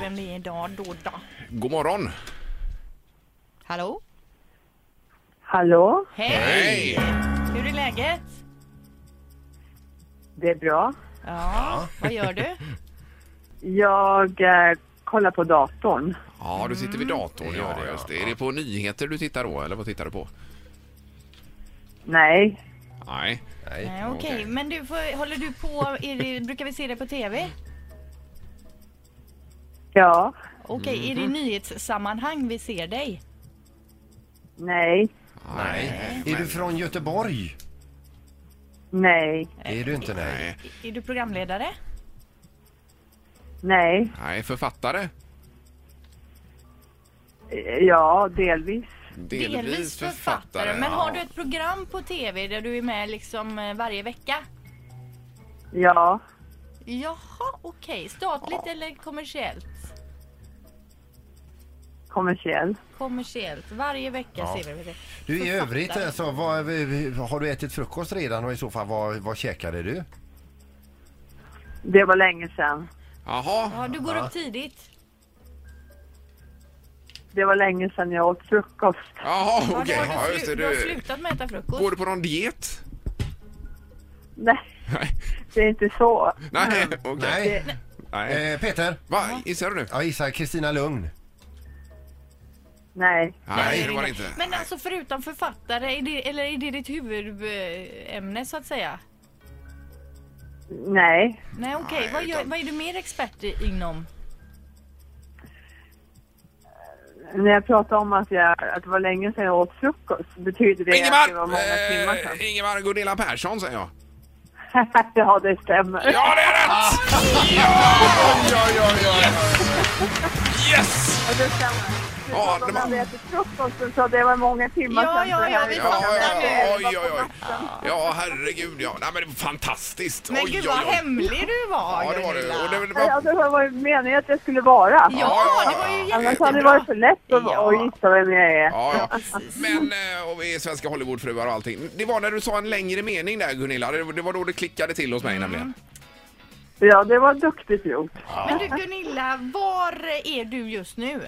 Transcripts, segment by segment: vem det är idag då då. God morgon! Hallå? Hallå, Hej! Hej! Hur är läget? det är bra. Ja, vad gör du? Jag eh, kollar på datorn. Ja, du sitter vid Mm. datorn. Ja, just det. Är det på nyheter du tittar då, eller vad tittar du på? Nej, Nej. Nej, Okej, okej. men du, får, håller du på, är det, brukar vi se det på tv? ja, Okej, är det i nyhetssammanhang vi ser dig? nej, Nej. Är du från Göteborg? nej, Är du inte nej? Nej. I- Är du programledare? nej. Nej, författare? Eh, Ja, delvis. Men har ja. du ett program på tv där du är med liksom eh, varje vecka? Ja, Jaha, okej. Statligt eller kommersiellt? kommersiell. Kommersiellt. Varje vecka ser vi det. Du i Författare. övrigt alltså, vad, har du ätit frukost redan och i så fall vad, vad käkade du? Det var länge sedan. Jaha. Ja, du går upp tidigt. Det var länge sedan jag åt frukost. Jaha, okej. Ja, du, har Ja, du, just slu- det. du har Du, slutat med att äta frukost. går du på någon diet? Nej, Nej. det är inte så. Nej, Mm. okej. Nej. Nej. Eh, Peter? Va, gissar du nu? Ja, gissar Kristina Lugn. Nej, Nej, det var det inte. Men alltså förutom författare, är det, eller är det ditt huvudämne så att säga? nej. Nej okej, Nej, vad, gör- utan- vad är du mer expert i, inom? När jag pratade om att, jag, att det var länge sedan jag åt frukost betyder det att det var Ingemar! många timmar Eh, sedan. Ingemar Gunilla Persson säger jag. ja, det stämmer. Ja, det är Ah. rätt! Ja! Ja, ja, ja. Yes! Ja, det stämmer. Du Ja, det sa de var- hade ätit frukost och sa det var många timmar Ja, sedan. ja, så det ja, här vi är Ja, fattar bara- ja, ja, oj, oj, oj. natten. Ja, herregud ja. Nej, men det var fantastiskt. Men oj, gud oj, vad oj. hemlig du var Ja, det var det. Gunilla. Och det, det Ja, var... det var ju meningen att jag skulle vara. Ja, det var ju Annars hade det jättebra. varit för lätt att Ja. att gissa vem jag är. Ja, ja. Men, eh, och vi är svenska Hollywoodfruar och allting. Det var när du sa en längre mening där Gunilla, det det var då det klickade till hos mig nämligen. Ja, det var duktigt gjort. Men du Gunilla, var är du just nu?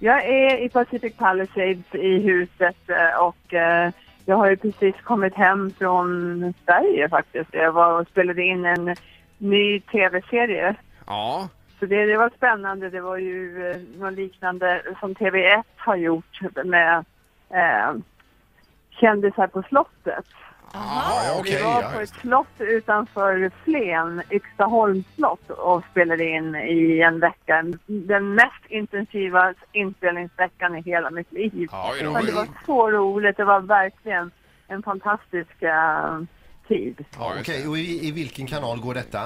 Jag är i Pacific Palisades i huset eh, och eh, jag har ju precis kommit hem från Sverige faktiskt. Jag var och spelade in en ny tv-serie. Ja, Så det, det var spännande. Det var ju eh, något liknande som TV1 har gjort med eh, kändisar på slottet. ja okej. Vi var på ja. ett slott utanför Flen, Yxaholms slott och spelade in i en vecka. Den mest intensiva inspelningsveckan i hela mitt liv. Oj då, Men oj det då. var så roligt. Det var verkligen en fantastisk eh, tid. Ja, Okej, just det. och i, i vilken kanal går detta?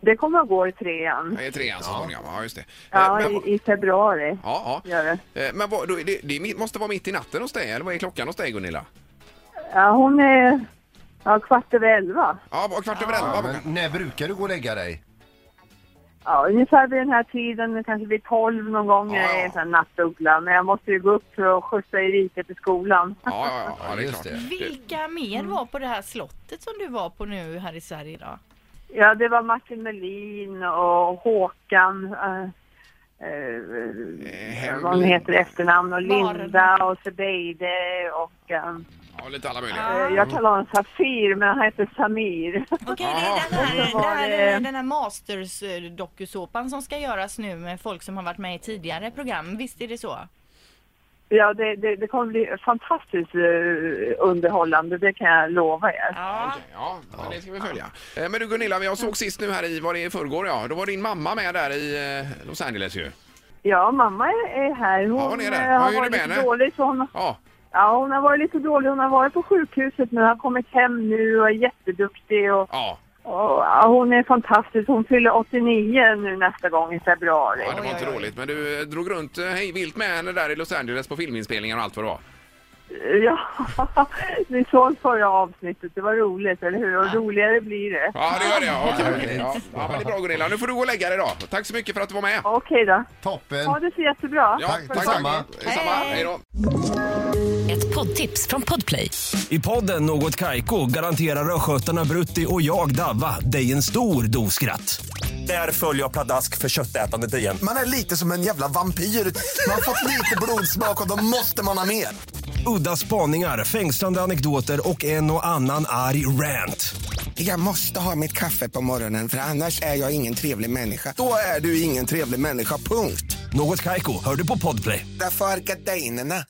Det kommer att gå i trean. Det är trean så småningom, ja just det. Eh, Ja, men- i, i februari. Ja, ja. Gör det. Eh, Men vad, då, är det, det är mitt- måste vara mitt i natten hos dig, eller vad är klockan hos dig Gunilla? Ja, hon är ja, kvart över elva. Ja, bara kvart över elva. Ja, var men när brukar du gå och lägga dig? Ja, ungefär vid den här tiden, kanske vid tolv någon gång, Ja, jag är ja. en sån här nattuggla. Men jag måste ju gå upp för att skjutsa Erika till skolan. Ja, ja, ja, ja, det Mm. är klart. Vilka mer var på det här slottet som du var på nu här i Sverige då? Ja, det var Martin Melin och Håkan, eh, eh, Hem- vad hon heter i efternamn, och Maren. Linda och Sebeide och... Eh, Ja, lite alla möjliga. Ja. jag kallar honom Safir, men han heter Samir. Okej, det Ja. är den här, Och så var den det- här, den här Masters-dokusåpan som ska göras nu med folk som har varit med i tidigare program. Visst är det så? Ja, det, det, det kommer bli fantastiskt eh, underhållande, det kan jag lova er. Ja. Ja, men det ska vi följa. Eh, Men du Gunilla, jag såg sist nu här i, var det i förrgår ja, då var din mamma med där i eh, Los Angeles ju. Ja, mamma är- är här. Hon, hon är där. eh, Ja, hur är har det varit med lite henne? dålig, så hon Ja, Ja, hon har varit lite dålig. Hon har varit på sjukhuset men har kommit hem nu och är jätteduktig. Och, ja, och, ja, hon är fantastisk. Hon fyller 89 nu nästa gång i februari. ja det var Oj, inte oj, oj. roligt. Men du eh, drog runt eh, hej vilt med henne där i Los Angeles på filminspelningar och allt vad det var. Ja, ni såg förra avsnittet. Det var roligt, eller hur? Och roligare blir det. Ja, det gör det ja. Okej, okej. ja. ja men det är bra Gunilla. Nu får du gå och lägga dig då. Tack så mycket för att du var med. Okej då. Toppen! Ha det så jättebra. Ja, Tack, detsamma. Detsamma. Hej då. Ett poddtips från Podplay. I podden Något Kaiko garanterar östgötarna Brutti och jag, Davva, dig en stor dos skratt. Där följer jag pladask för köttätandet igen. Man är lite som en jävla vampyr. Man har fått lite blodsmak och då måste man ha mer. Udda spaningar, fängslande anekdoter och en och annan arg rant. Jag måste ha mitt kaffe på morgonen för annars är jag ingen trevlig människa. Då är du ingen trevlig människa, punkt. Något Kaiko, hör du på podplay. Därför arkadeinerna.